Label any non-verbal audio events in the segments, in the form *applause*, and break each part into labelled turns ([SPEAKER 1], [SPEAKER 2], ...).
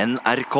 [SPEAKER 1] NRK.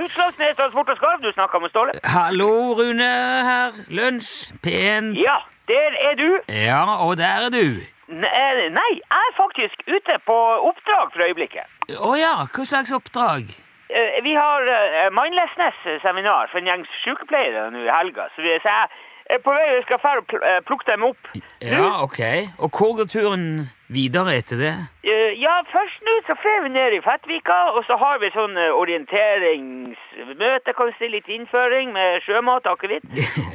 [SPEAKER 2] Utslagsnes Transport og Skarv, du snakker med Ståle.
[SPEAKER 3] Hallo, Rune her. Lunsj, P1.
[SPEAKER 2] Ja, der er du.
[SPEAKER 3] Ja, og der er du.
[SPEAKER 2] N- eh, Nei, jeg er faktisk ute på oppdrag for øyeblikket.
[SPEAKER 3] Å ja, hva slags oppdrag?
[SPEAKER 2] Eh, Vi har eh, Mindlessness seminar for en gjeng sykepleiere nå i helga, så, vi, så jeg er på vei og skal fære og pl- eh, plukke dem opp.
[SPEAKER 3] Ja,
[SPEAKER 2] Mm.
[SPEAKER 3] ok. Og hvor går turen videre etter det?
[SPEAKER 2] Eh, Ja, først nå så fer vi ned i Fettvika, og så har vi sånn eh, orienteringsmøte, kan du si, litt innføring med sjømat og akevitt.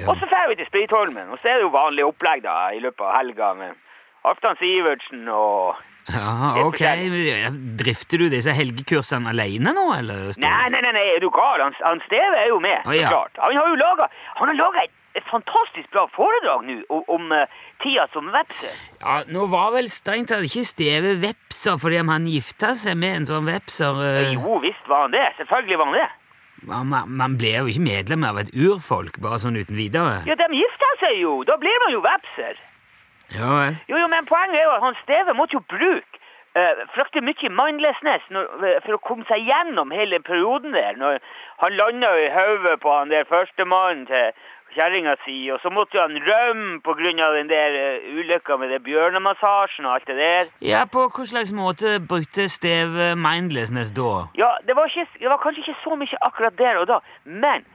[SPEAKER 2] Og så fer vi til Spritholmen, og så er det jo vanlig opplegg da, i løpet av helga med Halvdan Sivertsen og
[SPEAKER 3] Ja, ok. Men, ja, altså, Drifter du disse helgekursene alene nå, eller? Ståle?
[SPEAKER 2] Nei, nei, nei, nei, er du gal? Han, han Steve er jo med,
[SPEAKER 3] Å, ja.
[SPEAKER 2] så klart. Han har jo laga Han har laget et, et fantastisk bra foredrag nå om, om eh, tida som vepse.
[SPEAKER 3] Ja, nå var vel strengt tatt ikke Steve vepser fordi om han gifta seg med en sånn vepser eh,
[SPEAKER 2] Jo visst var han det. Selvfølgelig var han det.
[SPEAKER 3] man, man- man blir jo ikke medlem av et urfolk bare sånn uten videre.
[SPEAKER 2] Ja, de gifta seg jo! Da blir man jo vepser.
[SPEAKER 3] Ja vel.
[SPEAKER 2] Jo, jo, men poenget er jo at han Steve måtte jo bruke eh, fryktelig mye mindlessness når, eh, for å komme seg gjennom hele perioden der. Når han landa i hodet på han der førstemannen til kjerringa si, og så måtte jo han rømme på grunn av den der eh, ulykka med det bjørnemassasjen og alt det der.
[SPEAKER 3] Ja, på hva slags måte brukte Steve mindlessness da?
[SPEAKER 2] Ja, det var, ikke, det var kanskje ikke så mye akkurat der og da, men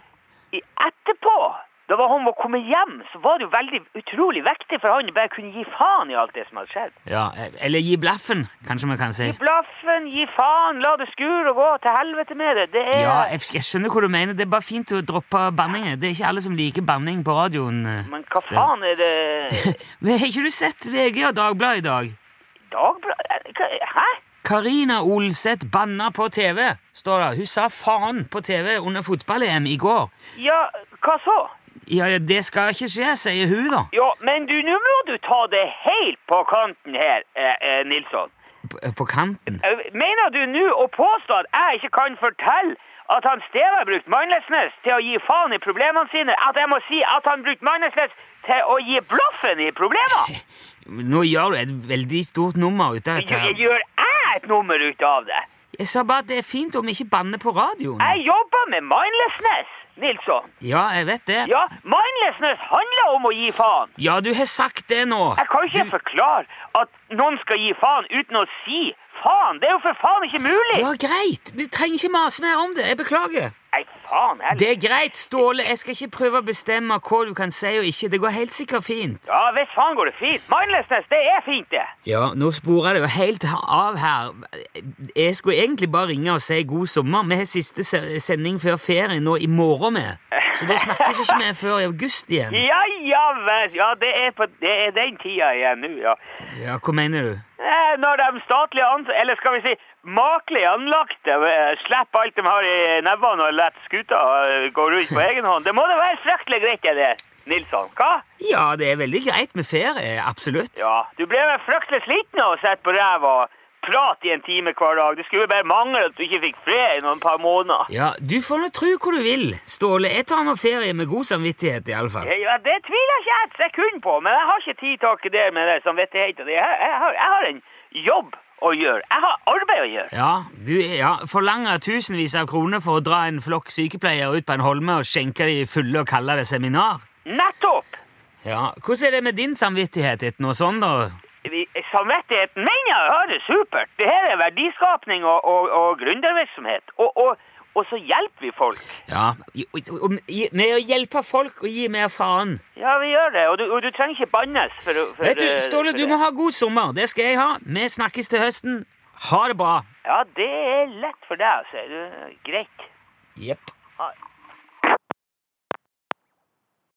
[SPEAKER 2] i etterpå, da var han var kommet hjem, så var det jo veldig utrolig viktig for han å bare kunne gi faen i alt det som hadde skjedd.
[SPEAKER 3] Ja, eller gi blaffen, kanskje man kan si.
[SPEAKER 2] Gi blaffen, gi faen, la det skure og gå til helvete med det. Det er
[SPEAKER 3] Ja, jeg, jeg skjønner hva du mener. Det er bare fint å droppe banningen. Det er ikke alle som liker banning på radioen. eh.
[SPEAKER 2] Men hva faen er det
[SPEAKER 3] *laughs* Men har ikke du sett VG og Dagbladet i dag?
[SPEAKER 2] Dagbladet Hva- Hæ?
[SPEAKER 3] Karina Olseth banna på TV, står det. Hun sa faen på TV under fotball-EM i går.
[SPEAKER 2] Ja, hva så?
[SPEAKER 3] Ja, ja, det skal ikke skje, sier hun da.
[SPEAKER 2] Ja, men du, nå må du ta det helt på kanten her, eh, eh, Nilsson.
[SPEAKER 3] På, på kanten.
[SPEAKER 2] Eh, Mener du nå å påstå at jeg ikke kan fortelle at han Steve har brukt Mindlessness til å gi faen i problemene sine? At jeg må si at han brukte Mindlessness til å gi blaffen i problemene?
[SPEAKER 3] Nå gjør du et veldig stort nummer ut av dette.
[SPEAKER 2] Gjør
[SPEAKER 3] her.
[SPEAKER 2] gjør jeg et nummer ut av det?
[SPEAKER 3] Jeg sa bare at det er fint om vi ikke banner på radioen.
[SPEAKER 2] Jeg jobber med Mindlessness, Nilsson.
[SPEAKER 3] Ja, jeg vet det.
[SPEAKER 2] Ja, mindlessness handler om å gi faen.
[SPEAKER 3] Ja, du har sagt det nå.
[SPEAKER 2] Jeg kan ikke forklare at noen skal gi faen uten å si faen. Det er jo for faen ikke mulig.
[SPEAKER 3] Ja, greit. Vi trenger ikke mase mer om det. Jeg beklager.
[SPEAKER 2] Nei, faen heller.
[SPEAKER 3] Det er greit, Ståle. Jeg skal ikke prøve å bestemme hva du kan si og ikke. Det går helt sikkert fint.
[SPEAKER 2] Ja, visst faen går det fint. Mindlessness, det er fint, det.
[SPEAKER 3] Ja, nå sporer det jo helt av her. Jeg skulle egentlig bare ringe og si god sommer. Vi har siste se- sending før ferie nå i morgen med. Så da snakkes ikke vi før i august igjen.
[SPEAKER 2] Ja, ja, vel. Ja, det er, på, det er den tida igjen nå, ja.
[SPEAKER 3] Ja, hva mener du?
[SPEAKER 2] Eh, Når de statlige ansatte, eller skal vi si makelig anlagte, eh, slipper alt de har i nebbene og lar skuta eh, gå rundt på
[SPEAKER 3] *laughs*
[SPEAKER 2] egen hånd. Det må da være fryktelig greit, er det, Nilsson? Hva?
[SPEAKER 3] Ja, det er veldig greit med ferie. Absolutt.
[SPEAKER 2] Ja, du ble vel fryktelig sliten av å sitte på ræva og prate i en time hver dag. Det skulle jo bare mangle at du ikke fikk fred i noen par måneder.
[SPEAKER 3] Ja, du får nå tro hva du vil, Ståle. Jeg tar nå ferie med god samvittighet, iallfall.
[SPEAKER 2] Ja, det tviler ikke jeg et sekund på, men jeg har ikke tid til akkurat det med det samvittighet og det. Jeg, jeg, har, jeg har en jobb å gjøre. Jeg har arbeid å gjøre.
[SPEAKER 3] Ja, du ja, forlanger tusenvis av kroner for å dra en flokk sykepleiere ut på en holme og skjenke de fulle og kalle det seminar?
[SPEAKER 2] Nettopp!
[SPEAKER 3] Ja, Hvordan er det med din samvittighet etter noe sånt, da?
[SPEAKER 2] Vi- Samvittigheten mener jeg har det supert. Det her er verdiskapning og, og, og gründervirksomhet. Og, og, og så hjelper vi folk.
[SPEAKER 3] Ja, i- om- i- Med å hjelpe folk og gi mer faen.
[SPEAKER 2] Ja, vi gjør det. Og du, og du trenger ikke bannes for, å- for
[SPEAKER 3] Vet du,
[SPEAKER 2] eh,
[SPEAKER 3] Ståle,
[SPEAKER 2] for
[SPEAKER 3] du
[SPEAKER 2] det.
[SPEAKER 3] må ha god sommer. Det skal jeg ha. Vi snakkes til høsten. Ha det bra.
[SPEAKER 2] Ja, det er lett for deg, sier du. Greit.
[SPEAKER 3] Jepp.
[SPEAKER 2] Ha-